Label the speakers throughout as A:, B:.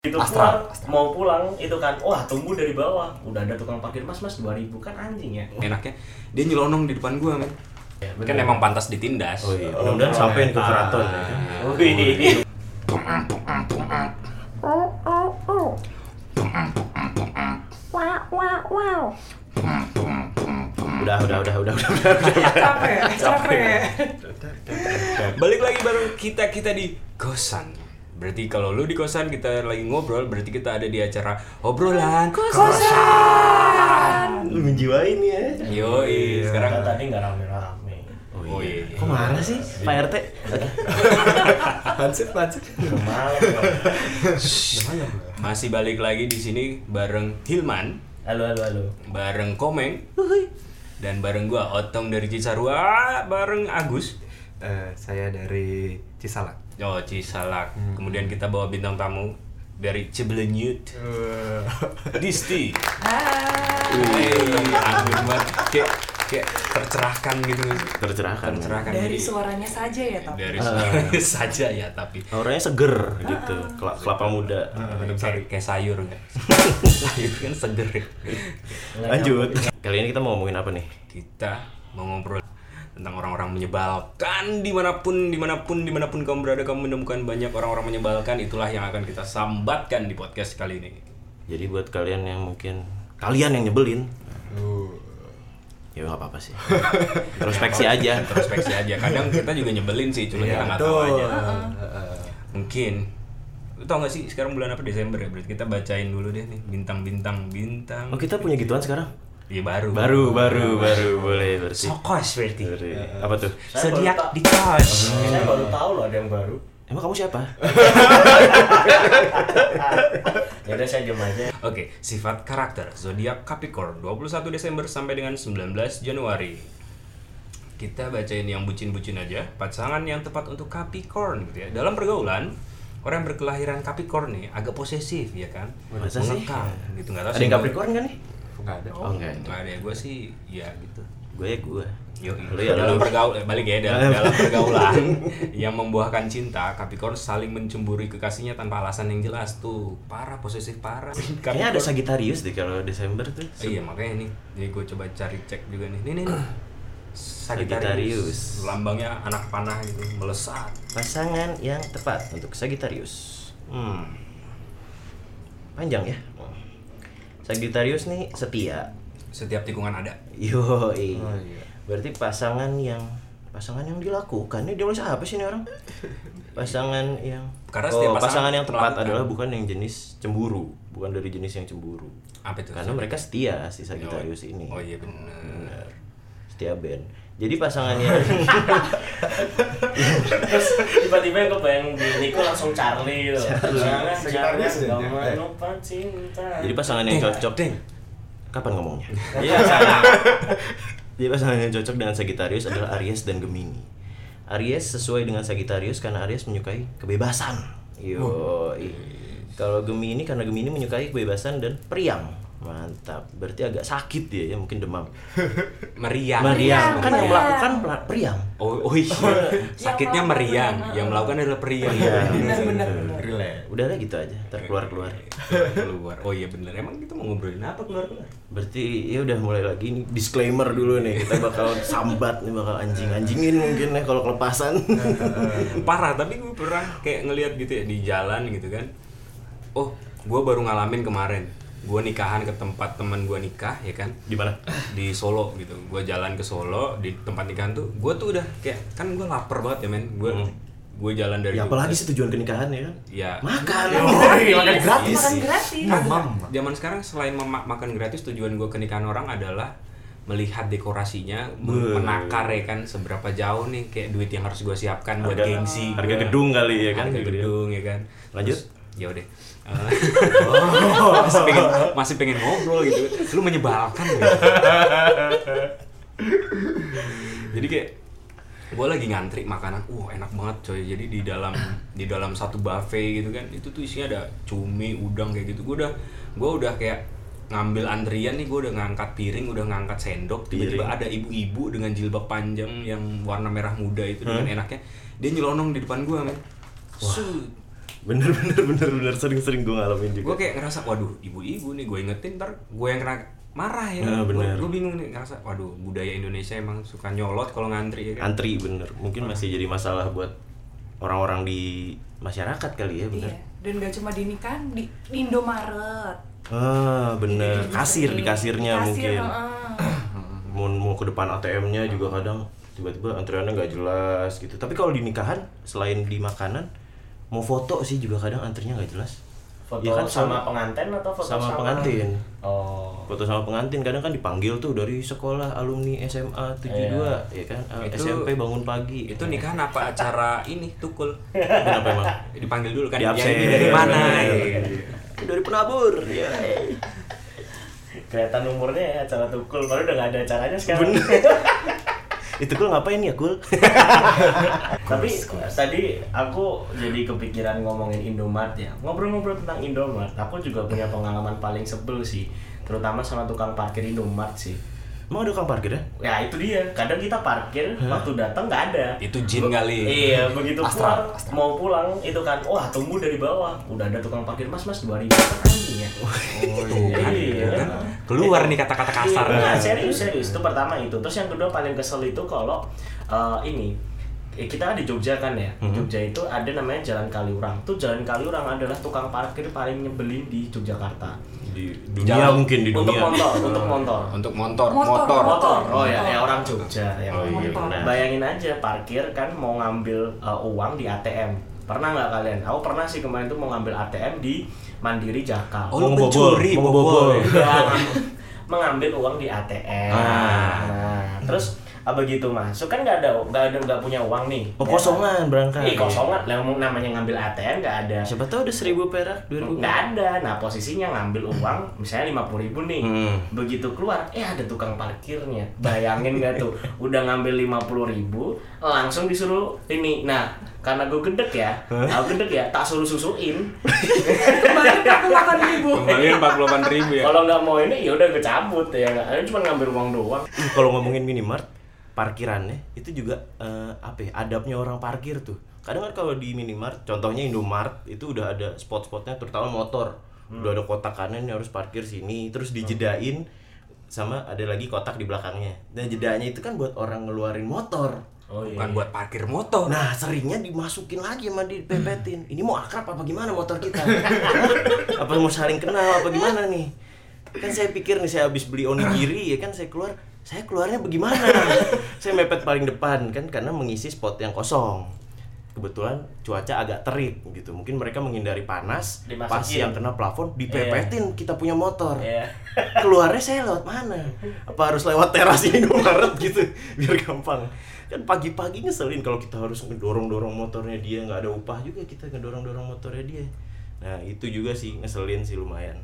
A: Begitu
B: Astra,
A: pulang,
B: Astra.
A: mau pulang itu kan, wah tunggu dari bawah. Udah ada tukang parkir mas mas 2000 kan anjing ya.
B: enaknya dia nyelonong di depan gua men
A: Ya,
C: Kan
A: bener.
C: emang pantas ditindas.
D: Oh iya, mudah-mudahan
A: Nah.
D: sampein ke keraton ya.
A: Oh, Wih,
D: Udah, udah, udah, udah, udah. udah.
E: capek capek
C: Balik lagi bareng kita kita di kosan. Berarti kalau lu di kosan kita lagi ngobrol, berarti kita ada di acara obrolan kosan.
D: Menjiwain ya.
C: Yoi,
B: Iya.
C: sekarang
A: kan tadi nggak rame-rame.
C: Oh iya.
D: Kok marah sih, Pak RT? Pansip, pansip.
A: Udah malam.
C: masih balik lagi di sini bareng Hilman,
A: Halo halo halo.
C: bareng Komeng, dan bareng gua Otong dari Cisarua, bareng Agus.
F: Eh, saya dari Cisalak.
C: Oh, Cisalak. Kemudian kita bawa bintang tamu dari Cibelenyut, Disti. Hey, anggun banget. Kayak kayak tercerahkan gitu.
D: Tercerahkan.
C: Tercerahkan
E: dari
C: jadi-
E: suaranya saja ya tapi
C: dari suaranya saja ya tapi
F: Eh,
D: Auranya seger gitu, Kela- kelapa muda.
C: kayak, kayak sayur nggak? sayur kan seger. ya.
D: Lanjut. Kali ini kita mau ngomongin apa nih?
C: Kita mau ngobrol tentang orang-orang menyebalkan dimanapun dimanapun dimanapun kamu berada kamu menemukan banyak orang-orang menyebalkan itulah yang akan kita sambatkan di podcast kali ini.
D: Jadi buat kalian yang mungkin kalian yang nyebelin. Ya nggak apa-apa sih. Introspeksi aja. Iya,
C: introspeksi aja kadang kita juga nyebelin sih cuma
F: Ya,
C: kita nggak tahu aja
F: Eh,
C: mungkin lu tau gak sih sekarang bulan apa Desember ya berarti kita bacain dulu deh nih bintang bintang bintang
D: Oh kita punya gituan sekarang?
C: iya baru
D: Baru, baru, baru Iya. boleh bersih.
C: sokos berarti
D: Apa tuh?
A: Saya baru
C: sediak
A: ta-
C: di kos
A: Saya baru tahu loh ada yang baru.
D: Emang kamu siapa?
A: Ya udah saya diem aja.
C: Oke, sifat karakter zodiak Capricorn 21 Desember sampai dengan 19 Januari. Kita bacain yang bucin-bucin aja, pasangan yang tepat untuk Capricorn gitu ya. Dalam pergaulan, orang yang berkelahiran Capricorn nih agak posesif ya kan?
D: Masa sih?
C: Mengekang gitu nggak tahu
D: Ada
C: sih
D: yang
C: gua-
D: Capricorn kan nih?
F: Enggak ada.
D: Oh enggak.
C: Nggak ada gue sih ya gitu.
D: Gue ya gue.
C: Yo,
D: Lu ya
C: dalam
D: lu.
C: pergaulan balik ya dalam, dalam pergaulan yang membuahkan cinta Capricorn saling mencemburi kekasihnya tanpa alasan yang jelas tuh parah posesif parah
D: Kayaknya
C: Capricorn-
D: ada Sagittarius deh kalau Desember tuh.
C: Eh, Iya makanya nih, jadi gue coba cari cek juga nih. Nih nih nih.
D: Sagittarius.
C: Sagittarius. Lambangnya anak panah gitu, melesat.
D: Pasangan yang tepat untuk Sagittarius. Hmm. Panjang ya. Sagittarius nih setia.
C: Setiap tikungan ada.
D: Yoi. Berarti pasangan yang pasangan yang dilakukan ini dia nulis apa sih ini orang? Pasangan yang
C: Karena setiap
D: oh,
C: pasangan kan?
D: pasangan yang tepat
C: melakukan.
D: adalah bukan yang jenis cemburu, bukan dari jenis yang cemburu.
C: Apa itu?
D: Karena mereka setia si Sagittarius ini.
C: Oh iya benar.
D: Setia band. Jadi pasangannya
A: Terus tiba-tiba yang kebayang di Niko langsung Charlie gitu. Jangan jangan
F: Sekitarnya
A: nggak
F: saja.
A: menumpang cinta.
D: Jadi pasangan yang cocok
C: deng.
D: Kapan ngomongnya? Iya. Jadi pasangan yang cocok dengan Sagittarius adalah Aries dan Gemini. Aries sesuai dengan Sagittarius karena Aries menyukai kebebasan. Yo. Kalau Gemini karena Gemini menyukai kebebasan dan periang. Mantap. Berarti agak sakit dia ya, mungkin demam.
C: Meriang.
D: Meriang kan yang
E: meriang.
D: melakukan pela- periang.
C: Oh, oh iya. Sakitnya
E: Yang
C: meriang,
E: melakukan,
C: yang melakukan adalah periang.
E: benar benar benar
F: Relax.
D: Udah lah gitu aja, ntar keluar-keluar.
C: keluar. Oh iya benar. Emang kita mau ngobrolin apa keluar-keluar?
D: Berarti ya udah mulai lagi nih disclaimer dulu nih. Kita bakal sambat nih bakal anjing-anjingin mungkin ya kalau kelepasan.
C: parah tapi gue pernah kayak ngelihat gitu ya di jalan gitu kan oh gue baru ngalamin kemarin gue nikahan ke tempat teman gue nikah ya kan
D: Di mana?
C: di Solo gitu gue jalan ke Solo di tempat nikahan tuh gue tuh udah kayak kan gue lapar banget ya men gue gue jalan dari
D: Hmm. Ya apalagi sih tujuan pernikahan ya kan?
C: ya
D: Makan.
E: Iya, makan
D: gratis.
E: makan gratis
F: Iya,
C: Iya. zaman sekarang selain mema- makan gratis tujuan gue ke nikahan orang adalah melihat dekorasinya menakar ya kan seberapa jauh nih kayak duit yang harus gue siapkan buat gengsi
D: Harga
C: gua.
D: gedung kali ya kan?
C: harga
D: gitu ya.
C: gedung ya kan
D: Lanjut. Oh.
C: Terus, ya udah Eh, masih pengen masih pengen ngobrol gitu lu menyebalkan ya. jadi kayak gue lagi ngantri makanan uh enak banget coy jadi di dalam di dalam satu buffet gitu kan itu tuh isinya ada cumi udang kayak gitu gue udah gue udah kayak ngambil antrian nih gue udah ngangkat piring udah ngangkat sendok tiba-tiba ada ibu-ibu dengan jilbab panjang yang warna merah muda itu dengan enaknya dia nyelonong di depan gue men Su-
D: bener bener bener bener sering-sering gue ngalamin
C: gue
D: juga
C: kayak ngerasa waduh ibu-ibu nih gue ingetin ntar gue yang kena marah ya
D: Nah, bener.
C: gue bingung nih ngerasa waduh budaya Indonesia emang suka nyolot kalau ngantri ya kan
D: antri bener mungkin masih jadi masalah buat orang-orang di masyarakat kali ya bener
E: Iya. Dan gak cuma di ini kan di di Indomaret.
D: ah bener
E: Iya,
D: kasir di kasirnya
E: Kasir,
D: mungkin
E: heeh.
D: mau mau ke depan ATM-nya juga kadang tiba-tiba antriannya nggak jelas gitu tapi kalau di nikahan selain di makanan mau foto sih juga kadang antrinya nggak jelas
A: Foto
D: Ya kan,
A: sama
D: sama-
A: pengantin atau foto
D: sama pengantin
A: Oh.
D: foto sama pengantin kadang kan dipanggil tuh dari sekolah alumni SMA 72 ya kan eh,
C: Itu-
D: SMP bangun pagi
C: itu nikahan apa acara ini tukul
D: kenapa emang
C: dipanggil dulu kan
D: Di
C: yang
D: absen.
C: ini dari mana
D: Iya.
C: ya.
D: dari penabur ya
A: Kelihatan umurnya ya acara tukul, baru udah nggak ada acaranya sekarang.
D: Bener. itu kul ngapain ya kul
A: Tapi tadi aku jadi kepikiran ngomongin Indomart ya. Ngobrol-ngobrol tentang Indomart, aku juga punya pengalaman paling sebel sih, terutama sama tukang parkir Indomart sih.
D: emang ada tukang parkir ya
A: Ya itu dia. Kadang kita parkir waktu datang nggak ada.
C: itu jin kali
A: Iya, begitu
C: Astra,
A: pulang mau pulang itu kan, wah tunggu dari bawah. Udah ada tukang parkir mas mas dua ribu anjing ya.
D: Oh,
C: Tuh kan,
A: Iya.
C: tuh kan. keluar nih kata-kata kasar
A: Nah, serius serius itu pertama itu. Terus yang kedua paling kesel itu kalau eh, ini eh, kita di Jogja kan ya. Di Jogja itu ada namanya Jalan Kaliurang. Tuh Jalan Kaliurang adalah tukang parkir paling nyebelin di Yogyakarta.
D: di dunia
C: Jalan.
D: mungkin di
A: Untuk
D: dunia
A: motor, untuk motor.
C: untuk motor
E: Motor.
C: motor
A: Motor. Oh ya,
E: Motor.
A: ya orang Jogja ya.
D: oh iya benar
A: Bayangin aja parkir kan mau ngambil uh, uang di ATM. Pernah nggak kalian? Aku pernah sih kemarin tuh mau ngambil ATM di Mandiri Jakarta.
C: Oh, lu
D: Mau ngebobol,
C: pencuri,
D: mau
C: bobol.
D: ngebobol.
A: Enggak, mengambil uang di ATM.
D: Ah.
A: Nah, terus ah, begitu masuk kan nggak ada nggak ada nggak punya uang nih.
D: Oh kosongan berangkat.
A: Iya kosongan. Lah, mau namanya ngambil ATM nggak ada.
D: Siapa tahu ada seribu perak, dua ribu.
A: Nggak ada. Nah posisinya ngambil uang misalnya lima puluh ribu nih.
D: Hmm.
A: Begitu keluar, eh ada tukang parkirnya. Bayangin nggak tuh? Udah ngambil lima puluh ribu, langsung disuruh ini. Nah karena gue gedek ya, aku gedek ya, tak suruh susuin.
E: Kemarin aku makan ibu.
C: kembaliin 48 ribu
D: Iya.
C: ya
A: Kalau nggak mau ini, ya udah gue cabut ya. Nggak, cuma ngambil uang doang.
D: Ih, Kalau ngomongin minimart, parkirannya itu juga eh, apa ya? Adabnya orang parkir tuh. Kadang kan kalau di minimart, contohnya Indomart itu udah ada spot-spotnya terutama motor. Udah ada kotak kanan yang harus parkir sini, terus dijedain sama ada lagi kotak di belakangnya. Dan jedanya itu kan buat orang ngeluarin motor.
A: Oh
C: bukan buat parkir motor
D: Nah, seringnya dimasukin lagi sama dipepetin. Ini mau akrab apa gimana motor kita? apa mau saling kenal apa gimana nih? Kan saya pikir nih saya habis beli onigiri ya kan saya keluar, saya keluarnya bagaimana? saya mepet paling depan kan karena mengisi spot yang kosong. Kebetulan cuaca agak terik gitu. Mungkin mereka menghindari panas, pas
A: Dimasukin.
D: yang kena plafon dipepetin kita punya motor.
A: Iya.
D: Keluarnya saya lewat mana? Apa harus lewat teras Indomaret gitu biar gampang. Kan pagi-pagi ngeselin kalau kita harus ngedorong-dorong motornya dia nggak ada upah juga kita ngedorong-dorong motornya dia. Nah itu juga sih ngeselin sih lumayan.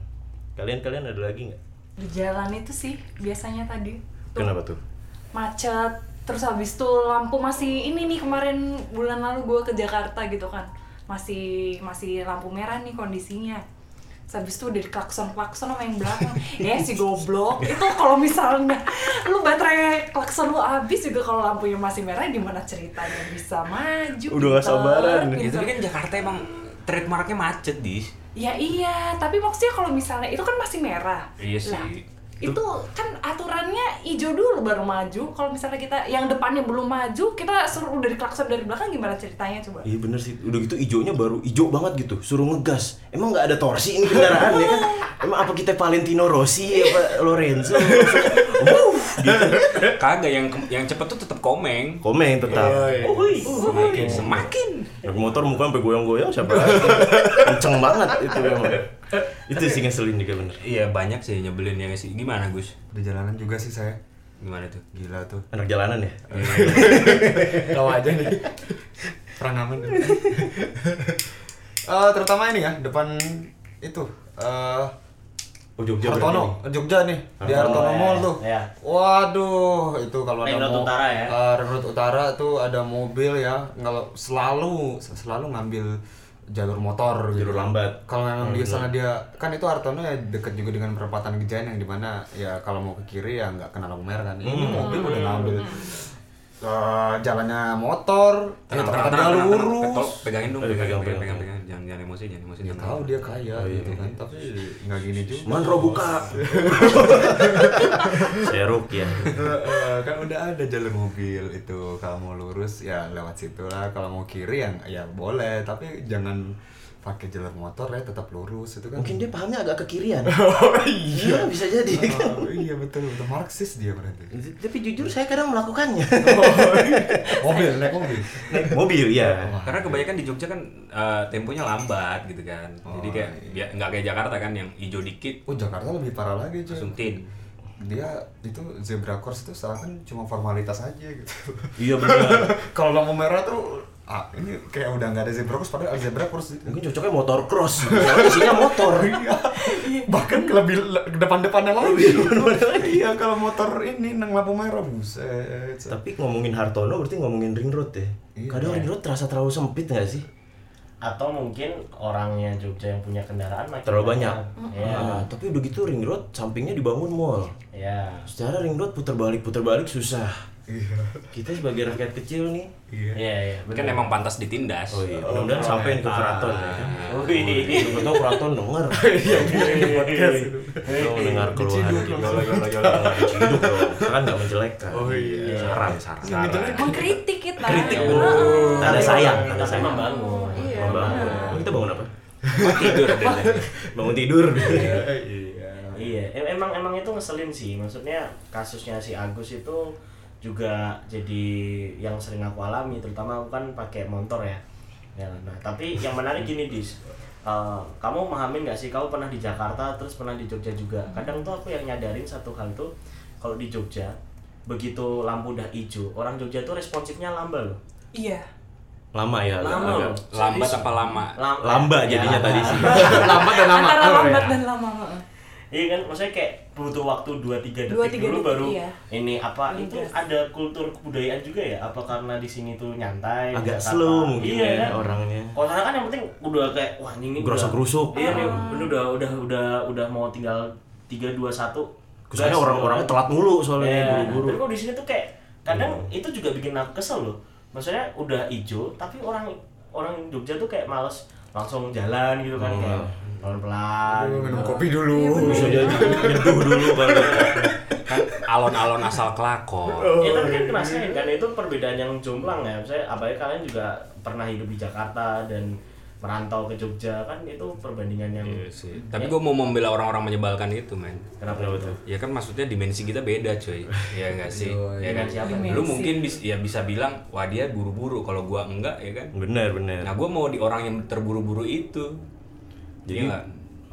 D: Kalian kalian ada lagi nggak?
E: Di jalan itu sih biasanya tadi. tuh
D: Kenapa tuh?
E: macet terus habis itu lampu masih ini nih kemarin bulan lalu gue ke Jakarta gitu kan masih masih lampu merah nih kondisinya terus habis itu dari klakson klakson sama yang belakang ya si goblok itu kalau misalnya lu baterai klakson lu habis juga kalau lampunya masih merah di mana ceritanya bisa maju gitu.
D: Udah nggak
E: pinter,
D: sabaran.
C: ya,
E: pinter.
C: tapi kan Jakarta emang trademarknya macet dis
E: Ya iya, tapi maksudnya kalau misalnya itu kan masih merah.
C: Iya sih.
E: Lah, itu kan aturannya hijau dulu baru maju. Kalau misalnya kita yang depannya belum maju, kita suruh dari klakson dari belakang gimana ceritanya coba?
D: Iya bener sih, udah gitu ijonya baru ijo banget gitu, suruh ngegas. Emang nggak ada torsi ini kendaraan ya kan? Emang apa kita Valentino Rossi apa Lorenzo?
C: Eh, kagak yang yang cepet tuh tetap komeng
D: Komen tetap.
A: Uhuy.
C: semakin semakin
D: Ya, motor muka sampai goyang-goyang siapa lagi? Kenceng banget itu memang. Itu sih ngeselin juga bener.
C: iya banyak sih nyebelin ya nggak sih gimana Gus
F: Di jalanan juga sih saya.
C: gimana tuh
F: Gila tuh.
D: Anak jalanan ya.
F: Tahu aja nih. Perang aman. Eh, terutama ini ya, depan itu eh
D: Oh Jogja
F: Hartono, Jogja nih, di
D: Hartono,
F: Hartono
A: ya,
F: Mall tuh.
A: ya.
F: Waduh, itu kalau ada
A: Ring Road
F: mau-
A: Utara ya?
F: Eh, Ring Road Utara tuh ada mobil ya, kalau selalu selalu ngambil jalur motor gitu.
D: Jalur lambat. Hmm,
F: Kalau memang di sana dia kan itu Hartono ya deket juga dengan perempatan
A: Hmm.
D: Hmm.
F: Gejayan yang dimana ya kalau mau ke kiri ya nggak kena lampu merah kan. Ini mobil udah ngambil eh, jalannya motor, eh, tempatnya lurus.
C: Tolong pegangin dong,
D: Aduh,
C: pegangin,
D: pegang,
C: pegangin,
D: pegang.
C: pegang, jangan jangan emosi, jangan emosi.
F: Ya
C: jangan
F: tahu
C: emosi.
F: dia
D: Oh,
F: kaya
D: iya,
F: gitu kan, tapi nggak gini juga.
D: Manro buka. Seruk ya.
F: Heeh, kan udah ada jalur mobil itu kalau mau lurus ya lewat situ lah kalau mau kiri yang ya boleh tapi jangan pakai jalur motor ya tetap lurus itu kan
D: Mungkin dia pahamnya agak ke kirian.
F: oh, iya
D: Iya, bisa jadi kan.
F: Oh, iya betul betul marxis dia berarti
D: Tapi jujur saya kadang melakukannya.
F: mobil naik mobil
D: Mobil ya.
C: Karena kebanyakan di Jogja kan eh, temponya lambat gitu kan.
D: Oh,
C: Jadi kayak
D: iya.
C: ya, nggak kayak Jakarta kan yang hijau dikit
F: oh Jakarta lebih parah lagi cuy
C: langsung tin.
D: Iya.
F: dia itu zebra cross itu seakan cuma formalitas aja gitu
D: Iya benar.
F: kalau lampu merah tuh ah ini kayak udah nggak ada zebra cross padahal zebra cross itu
D: Mungkin cocoknya motor cross. Soalnya isinya motor.
F: Iya. bahkan ke lebih le- ke depan-depannya lagi iya kalau motor ini nang lampu merah buset
D: Tapi ngomongin Hartono berarti ngomongin ring road ya.
F: Iya.
D: Kadang ring road terasa terlalu sempit nggak sih?
A: atau mungkin orangnya Jogja yang punya kendaraan makin
D: Terlalu banyak.
A: ya
D: Ah, tapi udah gitu ring road sampingnya dibangun mall.
A: ya
D: Secara ring road putar balik putar balik susah.
F: iya
D: Kita sebagai rakyat kecil nih.
A: iya iya
C: Kan
A: bener.
C: emang pantas ditindas.
D: Oh iya, mudah-mudahan sampein ke keraton ya.
A: Wih.
D: Betul keraton denger.
A: Iya,
D: Kalau mendengar keluhan
C: Yolo yolo yolo.
D: hidup dong, kan nggak menjelekkan.
F: Oh iya.
D: Saran, saran.
E: Mengkritik
A: Iya.
E: kita.
D: Kritik.
E: Heeh.
D: Ada sayang, ada
A: saya
D: sayang.
A: membangun
E: Iya.
D: Membangun. Oh, Kita bangun apa?
C: Tidur deh.
D: Bangun tidur.
F: Eh,
A: Iya, em- emang emang itu ngeselin sih. Maksudnya kasusnya si Agus itu juga jadi yang sering aku alami, terutama aku kan pakai motor ya. Ya, nah tapi yang menarik gini dis, Eh, kamu memahami nggak sih? Kamu pernah di Jakarta, terus pernah di Jogja juga. Kadang tuh aku yang nyadarin satu hal tuh, kalau di Jogja begitu lampu udah hijau, orang Jogja tuh responsifnya lama loh.
E: Iya.
D: Lama ya. agak-
A: Lama
D: agak.
A: loh.
C: Lambat apa lama?
A: Lam-
D: Lamba
A: ya,
D: jadinya
A: lama.
D: tadi sih.
F: lambat dan lama
E: Antara
F: Oh,
E: lambat
F: iya.
E: dan lama. heeh.
A: Iya kan, maksudnya kayak butuh waktu 2-3 detik
E: 2-3
A: dulu
E: detik,
A: baru
E: iya.
A: ini apa
E: Ini
A: itu
E: gas.
A: ada kultur kebudayaan juga ya? Apa karena di sini tuh nyantai? di
D: Agak
A: Jakarta?
D: slow mungkin
A: iya,
D: ya
A: kan?
D: orangnya.
A: Kalau sana kan yang penting udah kayak wah ini ini udah-
D: Gerusuk-gerusuk.
A: Iya nih,
E: Ah.
A: ini udah udah udah udah mau tinggal 3 2 1.
D: Kesannya orang-orangnya telat mulu
A: buru-buru.
D: soalnya
A: Iya. Tapi
D: buru-buru. Iya.
A: kalau di sini tuh kayak kadang itu juga bikin aku kesel loh. Maksudnya udah ijo tapi orang orang Jogja tuh kayak males langsung jalan gitu
D: Oh.
A: kan kayak pelan-pelan. gitu.
F: Aduh, minum kopi
E: Iya,
F: dulu
E: bener.
D: Bisa jadi nyeduh dulu kalau
C: Kan alon-alon asal kelakon.
A: Ya tapi kan ngerasain kan itu perbedaan yang jomplang ya. Saya apalagi kalian juga pernah hidup di Jakarta dan merantau ke Jogja kan itu perbandingan yang
D: Iya
C: Tapi gue mau membela orang-orang menyebalkan itu, men.
A: kenapa gitu? itu?
C: Ya kan maksudnya dimensi kita beda, cuy. Ya enggak sih? Ya kan
A: Dimensi apa?
C: Lu mungkin bis- ya bisa bilang, "Wah, dia buru-buru." Kalau gua enggak, ya kan?
D: Bener bener.
C: Nah, gue mau di orang yang terburu-buru itu.
D: Jadi
C: Jadi ya,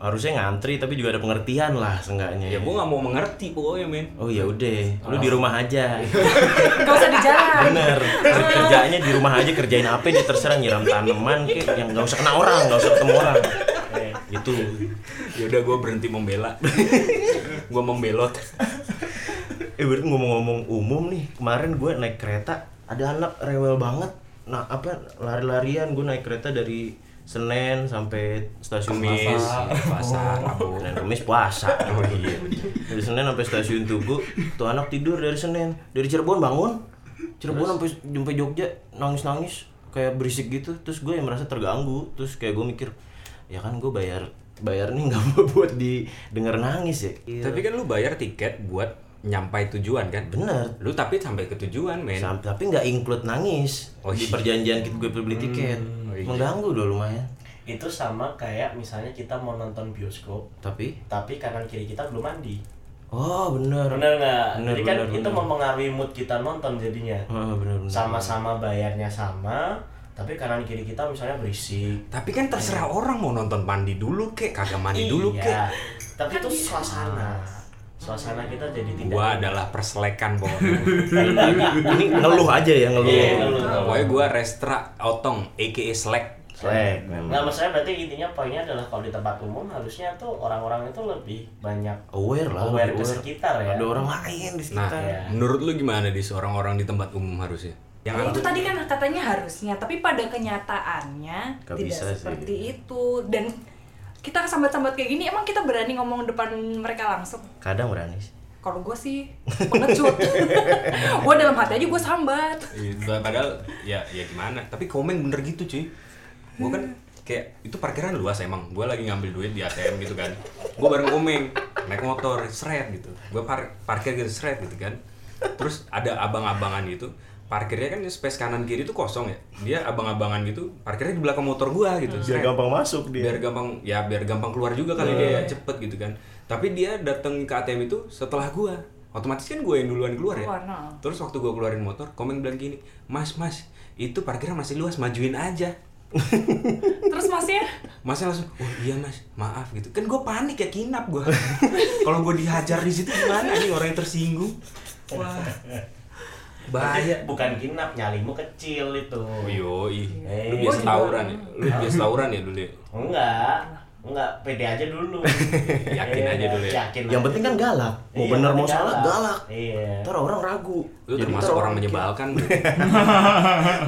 D: harusnya ngantri tapi juga ada pengertian lah seenggaknya.
C: ya gue nggak mau mengerti pokoknya men.
D: Oh ya udah, lu di rumah aja.
E: Gak usah di jalan.
D: Bener. Kerjaannya di rumah aja kerjain apa dia terserah nyiram tanaman kek yang nggak usah kena orang, nggak usah ketemu orang. Gitu. Itu
C: Ya udah gue berhenti membela. gue membelot.
D: Eh berarti ngomong-ngomong umum nih, kemarin gue naik kereta ada anak rewel banget. Nah apa lari-larian gue naik kereta dari Senen sampai stasiun
C: Kemis,
A: Oh.
C: pasar,
D: Tugu. Oh, Senin Kemis puasa. Oh iya. Dari Senen sampai stasiun Tugu, tuh anak tidur dari Senen. Dari Cirebon bangun. Cirebon sampai sampai Jogja nangis-nangis kayak berisik gitu. Terus gue yang merasa terganggu. Terus kayak gue mikir, ya kan gue bayar bayar nih nggak mau buat didengar nangis ya. Iya.
C: Tapi kan lu bayar tiket buat nyampai tujuan kan?
D: bener
C: Lu tapi sampai ke tujuan men.
D: Sam- tapi nggak include nangis
C: Oh, iya.
D: di perjanjian kita gue beli tiket
A: Hmm, oh, iya.
D: mengganggu loh lumayan
A: Itu sama kayak misalnya kita mau nonton bioskop
D: tapi
A: tapi kanan kiri kita belum mandi.
D: oh bener
A: Bener nggak?
D: Bener,
A: Jadi kan
D: bener,
A: itu
D: bener.
A: mempengaruhi mood kita nonton jadinya.
D: Ah, bener bener
A: Sama-sama bayarnya sama, tapi kanan kiri kita misalnya berisik.
C: Tapi kan terserah
D: Iya.
C: orang mau nonton mandi dulu kek, kagak mandi dulu
A: Iya.
C: kek.
A: Tapi itu suasana. Suasana kita jadi tidak.
C: Gua adalah perselekan pokoknya.
D: ini ngeluh aja ya ngeluh
A: Iya, ngeluh.
C: pokoknya gua restra otong aka selek.
D: Slack
A: Nah,
D: memang
A: maksudnya berarti intinya poinnya adalah kalau di tempat umum harusnya tuh orang-orang itu lebih banyak
C: Oh,
D: aware lah
A: aware
D: lebih
A: ke sekitar ya.
D: ada orang lain di
C: Nah,
D: sekitar
A: Iya.
C: menurut lu gimana di seorang orang di tempat umum harusnya? Yang
E: Nah, itu tadi kan katanya harusnya, tapi pada kenyataannya
D: Gak
E: tidak
D: bisa sih.
E: seperti itu. Dan kita sambat-sambat kayak gini, emang kita berani ngomong depan mereka langsung?
D: kadang berani sih.
E: Kalau gue sih pengecut. gue dalam hati aja gue sambat.
C: Iya, padahal ya ya gimana tapi komen bener gitu cuy gue kan kayak itu parkiran luas emang gue lagi ngambil duit di ATM gitu kan gue bareng komeng naik motor seret gitu gue par- parkir gitu seret gitu kan terus ada abang-abangan gitu parkirnya kan space kanan kiri itu kosong ya dia abang-abangan gitu parkirnya di belakang motor gua gitu
F: Hmm.
D: biar
C: seret
D: gampang masuk
E: Iya.
C: biar
D: dia
C: gampang ya biar gampang keluar juga kali dia ya, cepet gitu kan tapi dia datang ke ATM itu setelah gua otomatis kan gue yang duluan keluar ya
E: Keluar, nah.
C: terus waktu gua keluarin motor komen bilang gini mas mas itu parkiran masih luas majuin aja
E: Terus masnya
C: masnya langsung oh iya mas maaf gitu kan gue panik ya kinap gua kalau gue dihajar di situ gimana nih orang yang tersinggung wah bahaya
A: bukan kinap nyalimu kecil itu
C: Yoi,
A: Eh.
C: lu biasa
E: Gua juga.
C: tawuran ya? Lu biasa tawuran ya dulu ya?
A: enggak enggak pede aja dulu Iya,
C: Yakin aja dulu ya?
A: yakin
D: yang
A: aja.
D: penting kan galak mau
A: Iya,
D: bener mau
A: penting
D: salah galak
A: iya
D: ntar orang ragu
C: Lu
D: Jadi
C: termasuk
D: ntar
C: orang menyebalkan bro.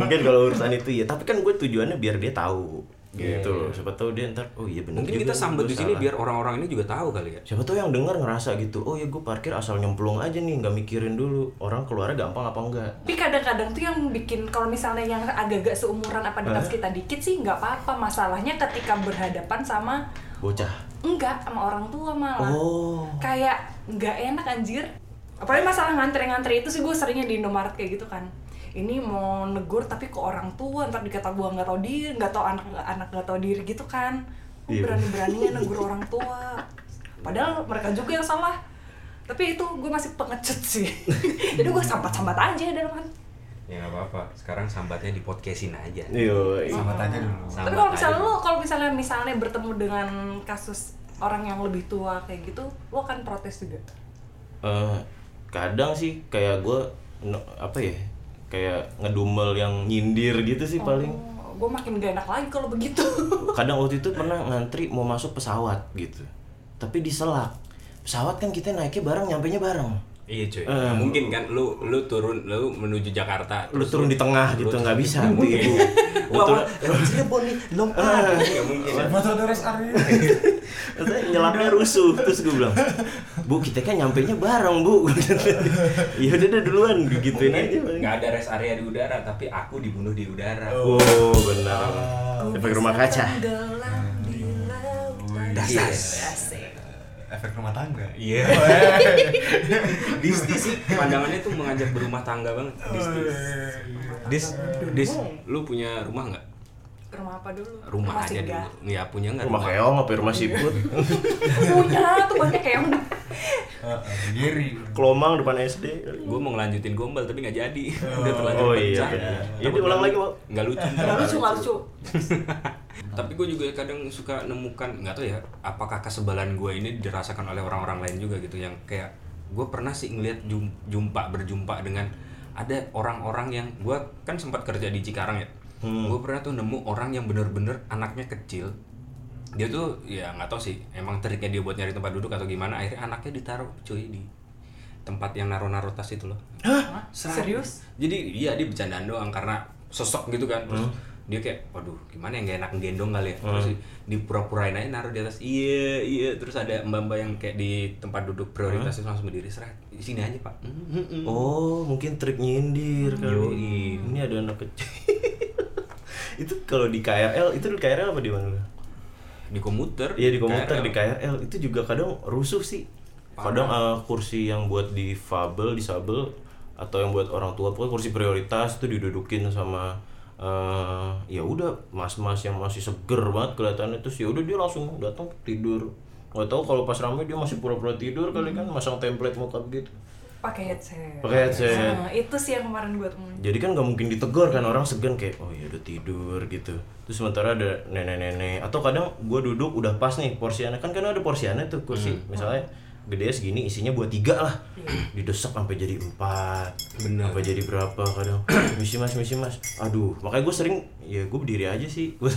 D: mungkin kalau urusan itu ya tapi kan gue tujuannya biar dia tahu
C: Iya,
D: gitu loh siapa tahu dia ntar oh iya bener
C: Mungkin
D: juga
C: kita
D: nih,
C: sambut
D: gua
C: di sini
D: salah.
C: biar orang-orang ini juga tahu kali ya.
D: siapa tahu yang dengar ngerasa gitu oh ya gue parkir asal nyemplung aja nih nggak mikirin dulu orang keluarnya gampang apa enggak
E: tapi kadang-kadang tuh yang bikin kalau misalnya yang agak-agak seumuran apa di atas kita dikit sih nggak apa-apa masalahnya ketika berhadapan sama
D: bocah
E: enggak sama orang tua malah
D: oh
E: kayak nggak enak anjir apalagi masalah ngantre-ngantre itu sih gue seringnya di Indomaret kayak gitu kan ini mau negur tapi ke orang tua ntar dikata gue nggak tau diri nggak tau anak anak nggak tau diri gitu kan Gua
D: Iya.
E: berani-beraninya negur orang tua padahal mereka juga yang salah tapi itu gue masih pengecut sih jadi gue sambat-sambat aja dalam hati
C: Ya nggak apa-apa. Sekarang sambatnya di podcastin aja.
D: Yoi.
F: Sambat aja dulu.
C: Sambat
D: Nah,
E: Tapi kalau
C: aja.
E: misalnya lo, kalau misalnya misalnya bertemu dengan kasus orang yang lebih tua kayak gitu, lo akan protes juga.
D: Eh, kadang sih kayak gue apa ya kayak ngedumel yang nyindir gitu sih paling
E: gue Oh, makin gak enak lagi kalau begitu.
C: Oh.
D: kadang waktu itu pernah ngantri mau masuk pesawat gitu tapi diselak pesawat kan kita naiknya bareng nyampe nya bareng
C: Iya cuy.
D: Eh.
C: Mungkin kan lu lu turun lu menuju Jakarta.
D: lu
C: terus
D: turun di tengah gitu nggak bisa
C: Nggak
D: tuh
C: mungkin.
D: ibu Lu
C: Wah,
D: turun-
C: wah, dari Cirebon nih, lompat. Nggak mungkin.
F: Motor deres Arya.
D: Terus nyelapnya rusuh terus gue bilang bu kita kan nyampe nya bareng bu ya udah deh duluan gituin aja paling.
C: Nggak ada rest area di udara, tapi aku dibunuh di udara.
D: oh benar
C: Oh, iya.
D: efek rumah kaca
E: Tenggelam di Iya lautan.
C: Dasar.
E: Asik.
F: Efek rumah tangga.
C: Iya. Disti sih pandangannya tuh mengajak berumah tangga banget. Disti. Dis, dis, lu punya rumah nggak?
E: Ke Rumah apa dulu?
C: Rumah, aja
E: singgah.
C: dulu. Ya punya nggak?
D: rumah keong apa ya, rumah siput
E: Punya tuh banyak kayak
F: Giri.
D: kelomang depan SD
C: gue mau ngelanjutin gombal tapi nggak jadi udah terlanjur
D: Oh, iya,
C: pecah.
D: iya.
C: Takut
D: Ya, diulang
C: nggak
D: lagi,
C: lu-
D: Pak.
C: nggak lucu
E: Gak lucu, gak lucu.
C: tapi gue juga kadang suka nemukan nggak tahu ya apakah kesebalan gue ini dirasakan oleh orang-orang lain juga gitu yang kayak gue pernah sih ngeliat jum- jumpa berjumpa dengan ada orang-orang yang gue kan sempat kerja di Cikarang ya
D: Hmm.
C: gue pernah tuh nemu orang yang bener-bener anaknya kecil dia tuh ya nggak tahu sih emang triknya dia buat nyari tempat duduk atau gimana akhirnya anaknya ditaruh cuy di tempat yang naruh-naruh tas itu loh
E: Hah?
C: Serius?
E: Serius?
C: Jadi iya dia bercandaan doang karena sosok gitu kan.
D: Hmm.
C: Terus dia kayak, waduh gimana yang gak enak gendong kali ya. Terus dipura-purain aja naruh di atas. Iya, iya. Terus ada mbak-mbak yang kayak di tempat duduk prioritas
D: Hmm.
C: itu langsung berdiri seret. Di sini aja pak. Mm, mm, mm.
D: Oh, mungkin trik nyindir kali.
C: Yoi.
D: Ini ada anak kecil. itu kalau di KRL, itu di KRL apa di mana? lu?
C: Di komuter.
D: Iya di komputer
C: KRL.
D: di KRL itu juga kadang rusuh sih. Kadang eh, kursi yang buat difabel, disabel atau yang buat orang tua pokoknya kursi prioritas itu didudukin sama eh ya udah mas-mas yang masih seger banget kelihatannya terus ya udah dia langsung datang tidur. Gak tahu kalau pas rame dia masih pura-pura tidur kali kan masang template muka gitu. begitu.
E: Pakai headset.
D: Pakai headset.
E: Nah, itu sih yang kemarin gue temuin.
D: Jadi kan nggak mungkin ditegur kan orang segan kayak oh ya udah tidur gitu. Terus sementara ada nenek-nenek atau kadang gua duduk udah pas nih porsiannya kan karena ada porsiannya tuh kursi
C: Hmm.
D: misalnya gede segini isinya buat tiga lah
C: Iya.
D: didesak sampai jadi empat
C: Bener.
D: sampai jadi berapa kadang misi mas misi mas aduh makanya gue sering ya gue berdiri aja sih Gua-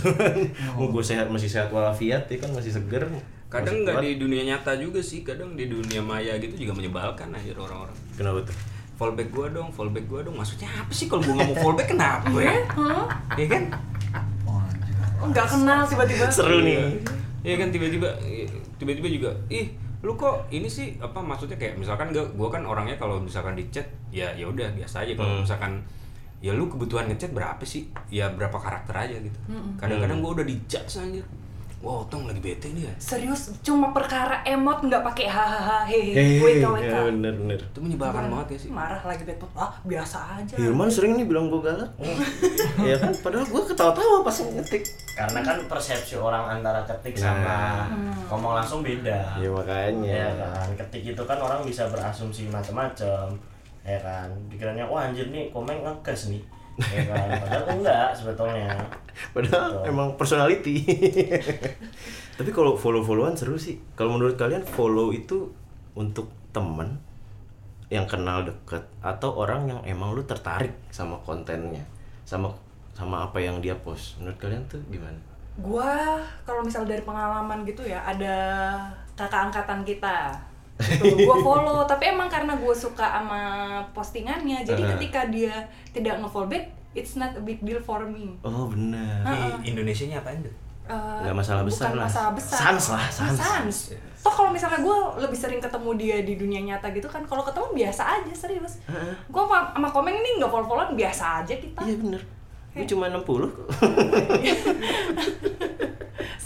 D: mau gue sehat masih sehat walafiat ya kan masih seger
C: Kadang
D: masih
C: nggak
D: kuat.
C: di dunia nyata juga sih. Kadang di dunia maya gitu juga menyebalkan aja orang-orang.
D: kenapa tuh
C: Fallback gua dong, fallback gua dong. Maksudnya apa sih kalau gua nggak mau fallback kenapa ya? Iya kan?
F: Oh, anjir.
E: Enggak kenal tiba-tiba.
D: seru nih
C: Iya kan tiba-tiba tiba-tiba juga ih lu kok ini sih apa maksudnya kayak misalkan gue gua kan orangnya kalau misalkan di chat ya ya udah biasa aja
D: Hmm.
C: kalau misalkan ya lu kebutuhan ngechat berapa sih ya berapa karakter aja gitu
D: Hmm.
C: kadang-kadang gue udah dijudge anjir wow tong lagi bete nih ya
E: serius cuma perkara emot nggak pakai hahaha hehe
D: Hehehe,
E: weka
D: ya
E: weka
D: bener bener.
C: itu menyebalkan banget ya sih
E: marah lagi bedpot ah biasa aja
D: Hilman sering nih bilang gue galak. ya kan, padahal gue ketawa-tawa pas ngetik.
A: karena kan persepsi orang antara ketik
C: Nah.
A: sama
D: Hmm.
A: ngomong langsung
C: Iya,
A: beda
D: Ya
A: ya
D: makanya.
A: kan ketik itu kan orang bisa berasumsi macam-macam ya kan pikirannya wah anjir nih komeng ngegas nih ya kan padahal enggak sebetulnya
D: Padahal
A: Betul.
D: emang personality. Tapi kalau follow-followan seru sih. Kalau menurut kalian follow itu untuk temen yang kenal deket atau orang yang emang lu tertarik sama kontennya, sama sama apa yang dia post. Menurut kalian tuh gimana?
E: gua kalau misal dari pengalaman gitu ya ada kakak angkatan kita Gitu, gua follow tapi emang karena gua suka sama postingannya jadi
D: Eh.
E: ketika dia tidak nge-follow back it's not a big deal for me
D: Oh benar.
C: di Indonesia nya apa itu
E: Eh,
D: Nggak masalah besar
E: bukan
D: lah.
E: masalah besar
D: Sans lah, sans. Iya.
E: Sans. toh kalau misalnya gue lebih sering ketemu dia di dunia nyata gitu kan kalau ketemu biasa aja serius gue sama, sama komeng nih nggak follow followan biasa aja kita
D: Iya bener. Gue cuma 60 kok.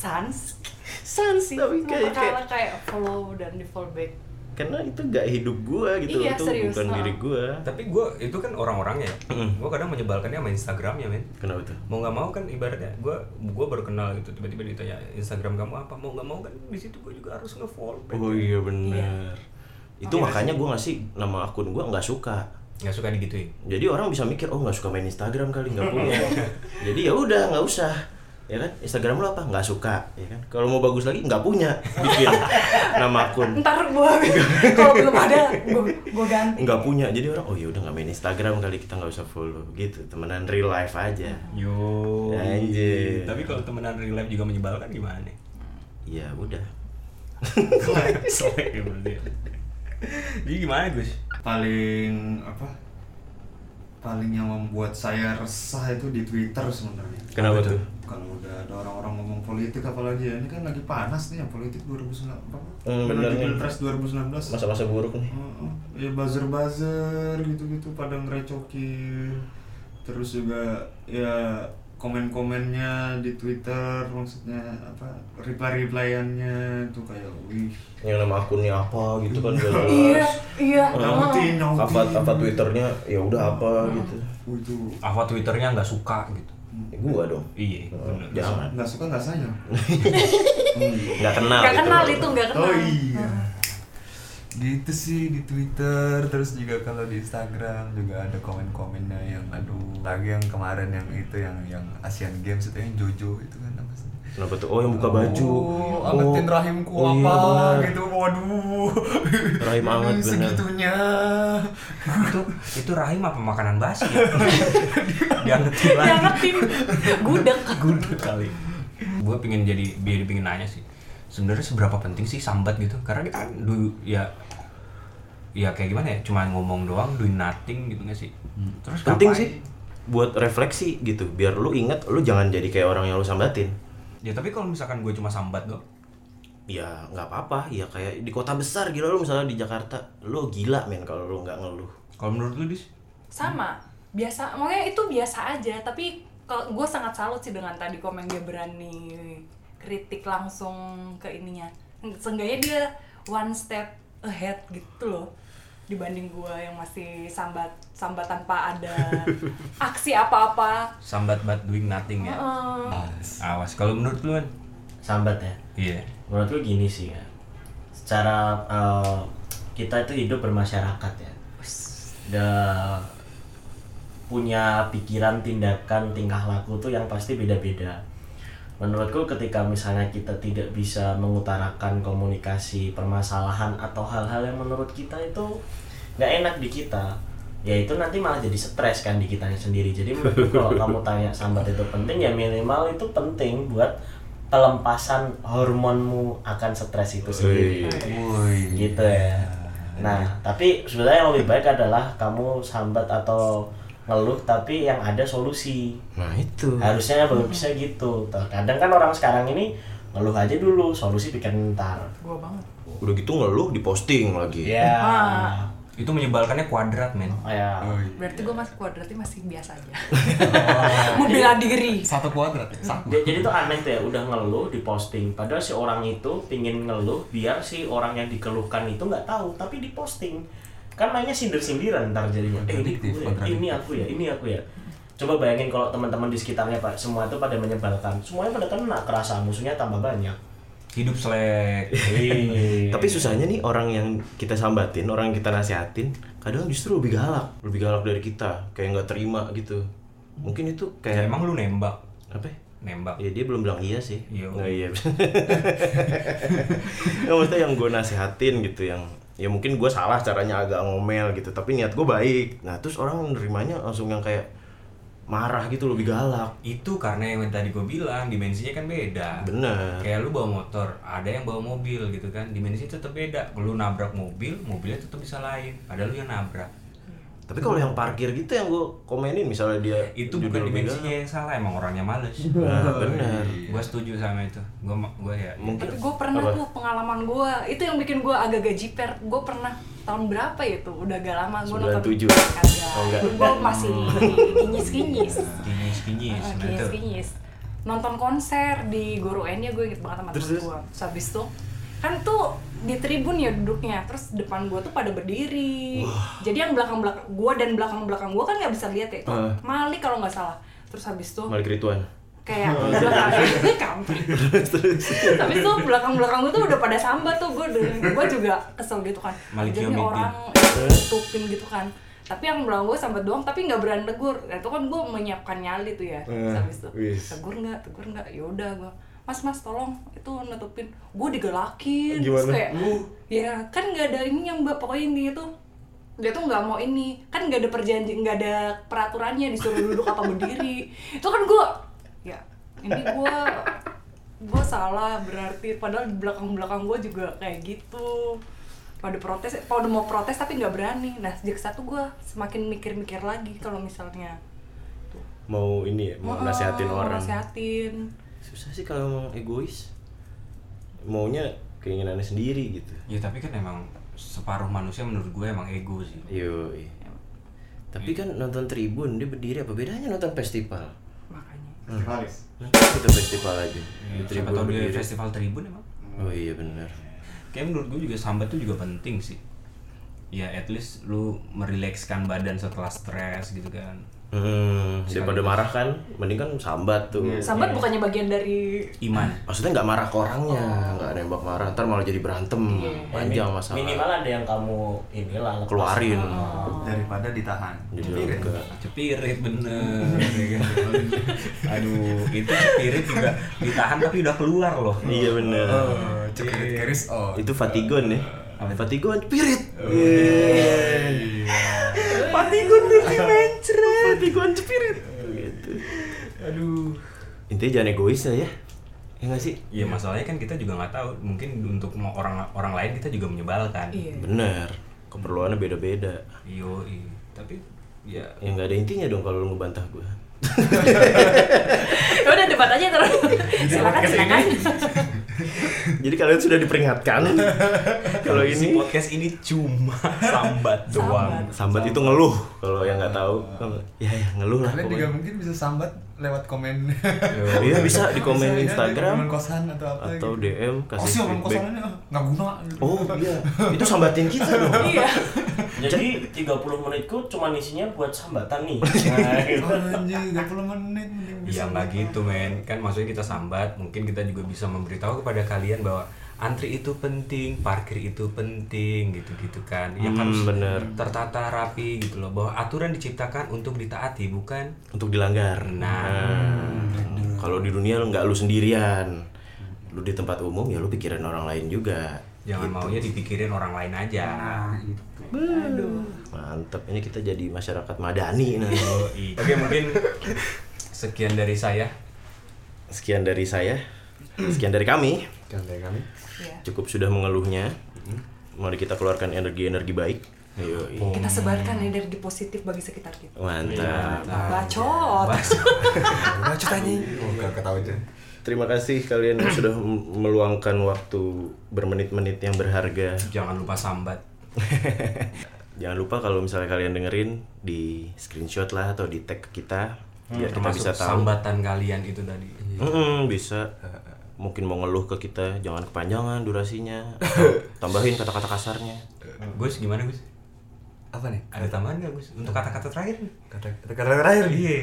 E: sans sans sih
D: Tapi
E: Cuma
D: kayak-
E: perkara kayak, follow dan di follow back
D: Karena itu gak hidup gua gitu loh.
E: Iya,
D: Itu
E: serius,
D: bukan
E: ha.
D: diri gua.
C: tapi gue itu kan orang-orangnya
D: Hmm.
C: gue kadang menyebalkannya sama Instagramnya men
D: Kenapa tuh?
C: mau nggak mau kan ibaratnya gue gue baru kenal gitu tiba-tiba ditanya Instagram kamu apa mau nggak mau kan di situ gue juga harus nge-follow back.
D: Oh iya bener. Iya. Itu makanya gua ngasih nama akun gua nggak suka.
C: nggak suka digituin
D: Jadi orang bisa mikir oh nggak suka main Instagram kali nggak punya. Jadi ya udah nggak usah. Ya kan Instagram lu apa? Nggak suka. Ya kan. Kalau mau bagus lagi nggak punya. Bikin nama akun
E: ntar gue kalau belum ada gue ganti
D: nggak punya. Jadi orang oh ya udah nggak main Instagram kali kita nggak usah follow gitu. Temenan real life aja.
C: Yo.
D: Anjir.
C: Tapi kalau temenan real life juga menyebalkan kan gimana?
D: Ya udah.
C: Selek ya berarti. Jadi gimana Gus?
F: paling apa paling yang membuat saya resah itu di Twitter sebenarnya.
D: Kenapa tuh?
F: Kalau udah ada orang-orang ngomong politik apalagi ya ini kan lagi panas nih ya politik 2019 apa?
D: Hmm, bener
F: Menuju
D: nih.
F: Pilpres 2019.
D: Masa-masa buruk nih.
F: Heeh. ya buzzer-buzzer gitu-gitu pada ngerecokin terus juga ya komen-komennya di Twitter maksudnya apa reply-replyannya itu kayak wih
D: Yang nama akunnya apa gitu kan nggak jelas.
E: iya iya
D: Hmm.
F: nautin nautin
D: Apa apa Twitternya ya udah apa gitu.
F: Wih, itu
C: Apa Twitternya nggak suka gitu?
D: Ya, gua dong.
C: Iya. bener.
D: Oh, Jangan.
F: nggak suka nggak sayang
D: Nggak kenal.
E: nggak
D: gitu.
E: kenal itu nggak kenal
F: oh iya gitu sih di Twitter terus juga kalau di Instagram juga ada komen-komennya yang aduh lagi yang kemarin yang itu yang yang Asian Games itu yang Jojo itu kan apa sih
D: Kenapa tuh? Oh yang buka baju.
F: Oh, angetin rahimku
D: oh, iya,
F: apa
D: benar.
F: gitu. Waduh.
D: Rahim anget, benar.
F: Segitunya.
C: itu itu rahim apa makanan basi ya? Diangetin lagi.
E: ngertiin gudeg
C: Gudeg kali. Gue pengen jadi biar pengen nanya sih. Sebenarnya seberapa penting sih sambat gitu? Karena kita kan du, ya ya kayak gimana ya? Cuma ngomong doang, doing nothing gitu nggak sih?
F: Hmm.
C: Terus
D: penting
C: ngapain?
D: sih buat refleksi gitu biar lu inget lu jangan jadi kayak orang yang lu sambatin
C: Ya tapi kalau misalkan gue cuma sambat dong,
D: ya nggak apa-apa ya kayak di kota besar gila lu misalnya di Jakarta lu gila men kalau lu nggak ngeluh
C: kalau menurut lu dis?
E: sama biasa makanya itu biasa aja tapi kalau gue sangat salut sih dengan tadi komen dia berani kritik langsung ke ininya seenggaknya dia one step ahead gitu loh dibanding gue yang masih sambat sambat tanpa ada aksi apa-apa
C: sambat but doing nothing ya
E: Heeh.
C: awas kalau menurut lu kan
A: sambat ya
C: iya
A: menurut gue gini sih ya secara eh, kita itu hidup bermasyarakat ya da, punya pikiran tindakan tingkah laku tuh yang pasti beda-beda menurutku ketika misalnya kita tidak bisa mengutarakan komunikasi permasalahan atau hal-hal yang menurut kita itu nggak enak di kita ya itu nanti malah jadi stres kan di kitanya sendiri jadi menurutku kalau kamu tanya sambat itu penting ya minimal itu penting buat pelempasan hormonmu akan stres itu sendiri
C: Iya,
A: gitu ya nah tapi sebenarnya yang lebih baik adalah kamu sambat atau ngeluh tapi yang ada solusi
D: nah itu
A: harusnya baru bisa gitu Tuh, kadang kan orang sekarang ini ngeluh aja dulu solusi pikirin ntar
E: Gua banget.
D: Udah gitu ngeluh diposting lagi.
A: ya
E: Ah.
C: Itu menyebalkannya kuadrat, men.
A: ya
F: Oh, iya.
E: Berarti gue masih kuadratnya masih biasa aja. Membela diri.
F: Satu kuadrat, ya? satu.
A: Ja- jadi tuh aneh tuh ya udah ngeluh diposting padahal si orang itu pingin ngeluh biar si orang yang dikeluhkan itu nggak tahu tapi diposting kan mainnya sindir sindiran ntar jadinya eh ini
F: Kontradiktif,
A: gue,
F: kontradiktif.
A: ini aku ya ini aku ya coba bayangin kalau teman-teman di sekitarnya pak semua itu pada menyebalkan semuanya pada kena kerasa musuhnya tambah banyak
C: Hidup selek.
F: Iya.
D: Tapi susahnya nih orang yang kita sambatin, orang yang kita nasihatin, kadang justru lebih galak, lebih galak dari kita, kayak nggak terima gitu. Mungkin itu
C: Ya,
D: kayak
C: emang lu nembak?
D: apa? ya?
C: Nembak.
D: Ya dia belum bilang iya sih.
C: Iya.
D: Nah, iya. ya, maksudnya yang gue nasihatin gitu yang ya mungkin gue salah caranya agak ngomel gitu tapi niat gue baik nah terus orang nerimanya langsung yang kayak marah gitu lebih galak
C: Itu karena yang tadi gue bilang dimensinya kan beda.
D: bener
C: Kayak lu bawa motor, ada yang bawa mobil gitu kan. Dimensinya tetap beda. Lu nabrak mobil, mobilnya tetap bisa lain. Ada lu yang nabrak.
D: tapi kalau yang parkir gitu yang gue komenin misalnya dia
C: Itu
D: judi
C: bukan ya.
D: lebih
C: dimensinya
D: galak.
C: yang salah, emang orangnya males.
D: nah, bener
C: Gue setuju sama itu. Gue gue ya.
D: mungkin
E: Tapi gue pernah
D: apa?
E: tuh pengalaman gue itu yang bikin gue agak gaji per. Gue pernah tahun berapa ya tuh? Udah agak lama gue
D: 97. Oh, enggak. Hmm.
E: Kagak. Gue masih kinyis kinyis.
C: Kinyis-kinyis. nah itu.
E: Kinyis kinyis. Nonton konser di Goro N ya gue inget banget sama
D: Terus,
E: temen
D: terus?
E: gue. Terus habis tuh kan tuh di tribun ya duduknya terus depan gue tuh pada berdiri jadi yang belakang belakang gue dan belakang belakang gue kan nggak bisa lihat ya itu
D: Ah.
E: Malik kalau nggak salah terus habis tuh
D: Malik Rituan
E: kayak belakang gue kampret tapi tuh belakang belakang gue tuh udah pada sambat tuh gue gue juga kesel gitu kan
C: Malik
E: jadi
C: Yomiddin.
E: orang tutupin gitu kan tapi yang belakang gue sambat doang tapi nggak berani tegur nah, itu kan gue menyiapkan nyali tuh ya
D: Eh,
E: Terus habis tuh
D: wis.
E: tegur nggak tegur nggak yaudah gue mas mas tolong itu nutupin gue digelakin terus
D: Gimana?
E: kayak ya kan nggak ada ini yang mbak pokoknya ini itu dia tuh nggak mau ini kan nggak ada perjanjian nggak ada peraturannya disuruh duduk apa berdiri itu kan gue ya ini gue gue salah berarti padahal di belakang belakang gue juga kayak gitu pada protes pada mau protes tapi nggak berani nah sejak satu gue semakin mikir-mikir lagi kalau misalnya
D: mau ini ya mau
E: Heeh,
D: nasihatin
E: Oh, mau
D: orang
E: nasihatin
D: susah sih kalau emang egois maunya keinginannya sendiri gitu
C: Ya tapi kan emang separuh manusia menurut gue emang ego sih.
D: Iya, Yoi. Tapi
C: Iya.
D: kan nonton tribun dia berdiri apa bedanya nonton festival?
E: makanya
D: Nonton kita festival aja.
C: Iya,
D: Di
C: Siapa
D: tribun
C: tahu dia
D: berdiri.
C: festival tribun emang.
D: Oh iya benar.
C: Kayak menurut gue juga sambat tuh juga penting sih. Ya at least lu merilekskan badan setelah stres gitu kan.
D: Hmm, daripada marah kan, mending kan sambat tuh.
C: Iya.
E: sambat bukannya bagian dari
C: Iman.
D: Maksudnya nggak marah ke orangnya, nggak nembak marah, ntar malah jadi berantem,
C: Iya.
D: panjang masalah.
A: minimal ada yang kamu inilah lepas. Ah.
D: Keluarin.
F: Daripada ditahan.
D: Jadi lega.
C: Cepirit bener. ya kan? Aduh, itu cepirit juga ditahan tapi udah keluar loh.
D: Iya benar.
F: Oh, cekirit keris on.
D: Iya. Itu Fatigon ya. Fatigon spirit. Iya.
F: Iya.
D: Fatigon lebih mencret. Fatigon spirit. Gitu.
F: Aduh.
D: Intinya jangan egois lah ya. Ya nggak sih?
C: Ya masalahnya kan kita juga nggak tahu. Mungkin untuk mau orang orang lain kita juga menyebalkan.
E: iya
D: Bener. Keperluannya beda-beda.
C: Yo, tapi ya
D: Ya nggak ada intinya dong kalau lu ngebantah gue.
E: ya udah debat aja terus
D: Ya,
E: silakan silakan
D: Jadi kalian sudah diperingatkan kalau
C: si
D: ini
C: podcast ini cuma sambat doang.
D: sambat itu ngeluh kalau yang nggak tahu. Ya ya ngeluh lah
F: Kalian juga
D: pokoknya.
F: mungkin bisa sambat lewat komen.
D: Iya bisa
F: Bisa, ya,
D: di komen
F: di komen
D: Instagram
F: kosan atau apa
D: atau
F: gitu.
D: DM
F: Oh sih
D: kasih
F: orang
D: feedback.
F: kosanannya ah, nggak guna. gitu.
D: Oh iya, itu sambatin kita dong.
E: iya
A: jadi 30 menitku cuma isinya buat sambatan nih Nah, gitu.
F: Oh, Anjir, 30 menit mending
C: Ya
F: bisa
C: nggak gitu men, kan maksudnya kita sambat, mungkin kita juga bisa memberitahu kepada kalian bahwa antri itu penting, parkir itu penting, gitu-gitu kan. Yang
D: Hmm,
C: harus
D: bener.
C: tertata rapi gitu loh, bahwa aturan diciptakan untuk ditaati bukan.
D: Untuk dilanggar.
C: Nah,
D: Kalau di dunia lu nggak lu sendirian. Lu di tempat umum ya lu pikirin orang lain juga.
C: jangan
D: Gitu.
C: maunya dipikirin orang lain aja.
D: Nah, iya. Mantep, ini kita jadi masyarakat madani nah.
C: Yoi. Oke mungkin sekian dari saya.
D: Sekian dari saya. Sekian dari kami.
F: kami.
E: Iya.
D: Cukup sudah mengeluhnya. Mari kita keluarkan energi-energi baik. Yoi.
E: kita sebarkan energi positif bagi sekitar kita Iya.
D: Mantap.
E: bacot
C: Bas-
F: Baca tanya. Oh, nggak ketahuan aja.
D: Terima kasih kalian yang sudah m- meluangkan waktu bermenit-menit yang berharga.
C: Jangan lupa sambat.
D: Jangan lupa kalau misalnya kalian dengerin di screenshot lah atau di tag ke kita
C: Hmm,
D: biar Iya, kita
C: Termasuk
D: bisa tahu. Iya.
C: sambatan kalian itu tadi.
D: Mm-mm, bisa. Mungkin mau ngeluh ke kita, jangan kepanjangan durasinya. atau tambahin kata-kata kasarnya.
C: Gus gimana Gus?
G: apa nih
C: Ada tambahan nggak Gus? Untuk kata-kata terakhir?
G: kata kata kata terakhir iya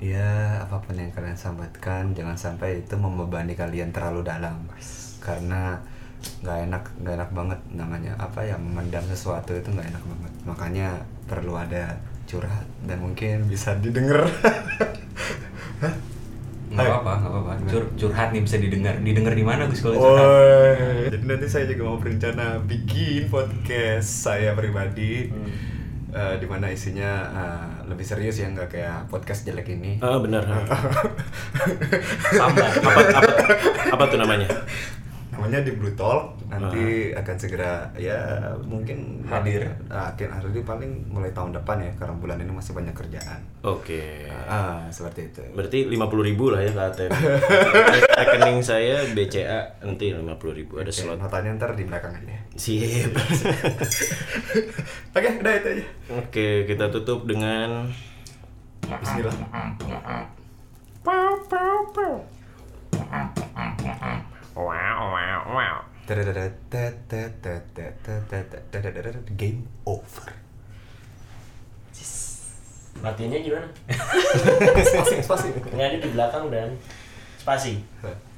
G: ya apapun yang kalian sambatkan jangan sampai itu membebani kalian terlalu dalam karena nggak enak nggak enak banget namanya apa ya memendam sesuatu itu nggak enak banget makanya perlu ada curhat dan mungkin bisa didengar Hah?
C: Nggak apa-apa, nggak apa-apa. Eh. Cur- curhat nih bisa didengar. Didengar di mana Gus kalau
G: Oh,
C: curhat?
G: Woi, jadi nanti saya juga mau berencana bikin podcast saya pribadi, eh, di mana isinya eh, lebih serius ya nggak kayak podcast jelek ini.
D: Ah, benar.
C: Sambat.
D: apa, apa, apa tuh namanya?
G: Namanya di Blue Talk, nanti akan segera ya mungkin
C: Hadir.
G: Akhir hari paling mulai tahun depan ya, karena bulan ini masih banyak kerjaan.
D: Oke.
G: Ah, seperti itu.
D: Berarti 50.000 ribu lah ya ke ATM. Rekening saya BCA nanti 50.000 ribu ada
G: Oke,
D: slot.
G: notanya ntar di belakang aja.
D: Sip.
G: Oke, udah itu aja.
D: Oke, kita tutup dengan
G: Bismillah. Game over.
A: Latihannya gimana?
G: Spasi, spasi.
A: Nyanyi di belakang dan spasi.